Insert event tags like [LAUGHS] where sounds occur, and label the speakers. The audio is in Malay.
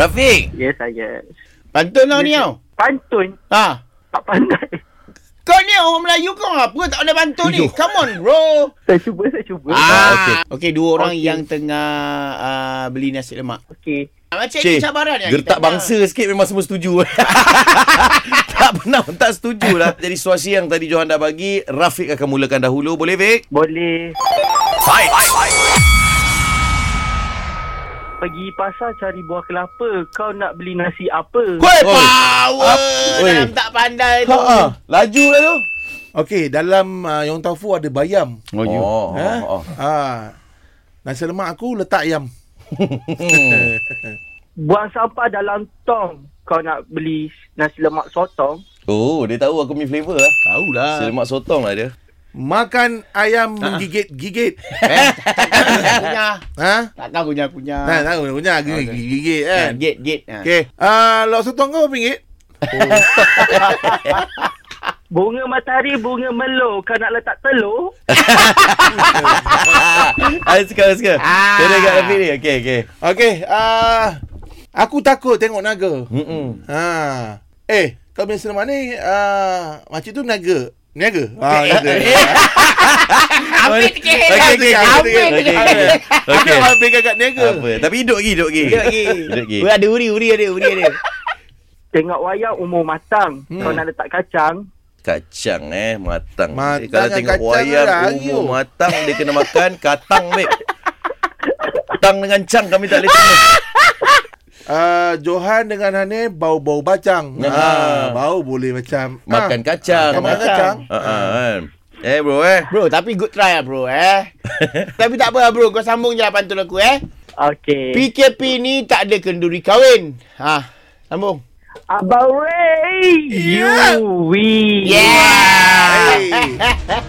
Speaker 1: Rafiq,
Speaker 2: Ya saya.
Speaker 3: Pantun lah ni tau.
Speaker 2: Pantun
Speaker 1: Ah.
Speaker 3: Ha.
Speaker 2: tak pandai.
Speaker 3: Kau ni orang Melayu kau apa tak pandai pantun ni?
Speaker 1: Ayuh.
Speaker 3: Come on bro.
Speaker 2: [LAUGHS] Saya cuba, saya cuba.
Speaker 3: Ah,
Speaker 1: okey.
Speaker 3: okay. okay, dua orang
Speaker 2: Okey.
Speaker 3: yang tengah
Speaker 1: ah,
Speaker 3: uh, beli nasi lemak.
Speaker 2: Okey.
Speaker 3: Ah, Macam
Speaker 1: Cik,
Speaker 3: ni cabaran yang
Speaker 1: gertak
Speaker 3: kita nak.
Speaker 1: bangsa sikit memang semua setuju. [LAUGHS] tak pernah pun tak setuju lah. [LAUGHS] Jadi situasi yang tadi Johan dah bagi, Rafiq akan mulakan dahulu. Boleh, Vic?
Speaker 2: Boleh pergi pasar cari buah kelapa. Kau nak beli nasi apa?
Speaker 3: Woi,
Speaker 1: Oi.
Speaker 3: power
Speaker 1: Oi.
Speaker 3: dalam tak pandai tu.
Speaker 1: Ha, laju lah tu.
Speaker 4: Okey, dalam uh, Yong Tau Fu ada bayam.
Speaker 1: Oh, oh,
Speaker 4: ha?
Speaker 1: oh, oh.
Speaker 4: Ha. Nasi lemak aku letak ayam.
Speaker 2: Buang sampah dalam tong. Kau nak beli nasi lemak sotong.
Speaker 1: Oh, dia tahu aku punya flavour lah.
Speaker 3: Tahu lah.
Speaker 1: Nasi lemak sotong lah dia. [LAUGHS]
Speaker 4: Makan ayam menggigit-gigit.
Speaker 3: Kunyah.
Speaker 4: Ha?
Speaker 3: Takkan kunyah-kunyah.
Speaker 4: Ha, tahu punya gigit-gigit kan.
Speaker 3: Gate, gate. Ha.
Speaker 4: Okey. Ah, lok sotong kau RM1.
Speaker 2: Bunga matahari, bunga melo. Kau nak letak telur?
Speaker 1: Ah, suka, suka.
Speaker 3: Ah.
Speaker 1: Dia dekat Rafiq ni. Okey, okey.
Speaker 4: Okey, ah aku takut tengok naga.
Speaker 1: Mm-mm.
Speaker 4: Ha. Eh, kau punya selama ni ah macam tu naga. Niaga. Ah, niaga.
Speaker 3: Ambil sikit.
Speaker 1: Okey, okey, okey.
Speaker 3: Ambil
Speaker 1: Okey,
Speaker 3: sikit.
Speaker 1: okey.
Speaker 4: Okey,
Speaker 1: Okey.
Speaker 4: habis kakak niaga.
Speaker 1: Apa? Tapi hidup lagi, hidup lagi.
Speaker 3: Hidup lagi.
Speaker 1: Hidup lagi.
Speaker 3: Uri ada uri, uri ada, uri ada.
Speaker 2: Tengok wayang umur matang. Hmm. Kau nak letak kacang.
Speaker 1: Kacang eh matang.
Speaker 4: Matang
Speaker 1: eh, kalau
Speaker 4: dengan
Speaker 1: tengok
Speaker 4: kacang
Speaker 1: wayang
Speaker 4: lah,
Speaker 1: umur
Speaker 4: Ayu.
Speaker 1: matang dia kena makan katang babe. Tang dengan cang kami tak boleh tengok.
Speaker 4: Ah, Johan dengan Hanif bau-bau bacang.
Speaker 1: Ah.
Speaker 4: Ah, bau boleh macam ah,
Speaker 1: Makan kacang.
Speaker 4: makan kacang.
Speaker 1: Ha ah, kan. Eh bro eh.
Speaker 3: Bro, tapi good try lah bro eh.
Speaker 1: [LAUGHS]
Speaker 3: tapi tak apa lah bro, kau sambung je lah pantun aku eh.
Speaker 2: Okey.
Speaker 3: PKP ni tak ada kenduri kahwin. Ha, sambung. Ya.
Speaker 2: Abang Ray. You. We.
Speaker 3: Yeah.
Speaker 4: Hey.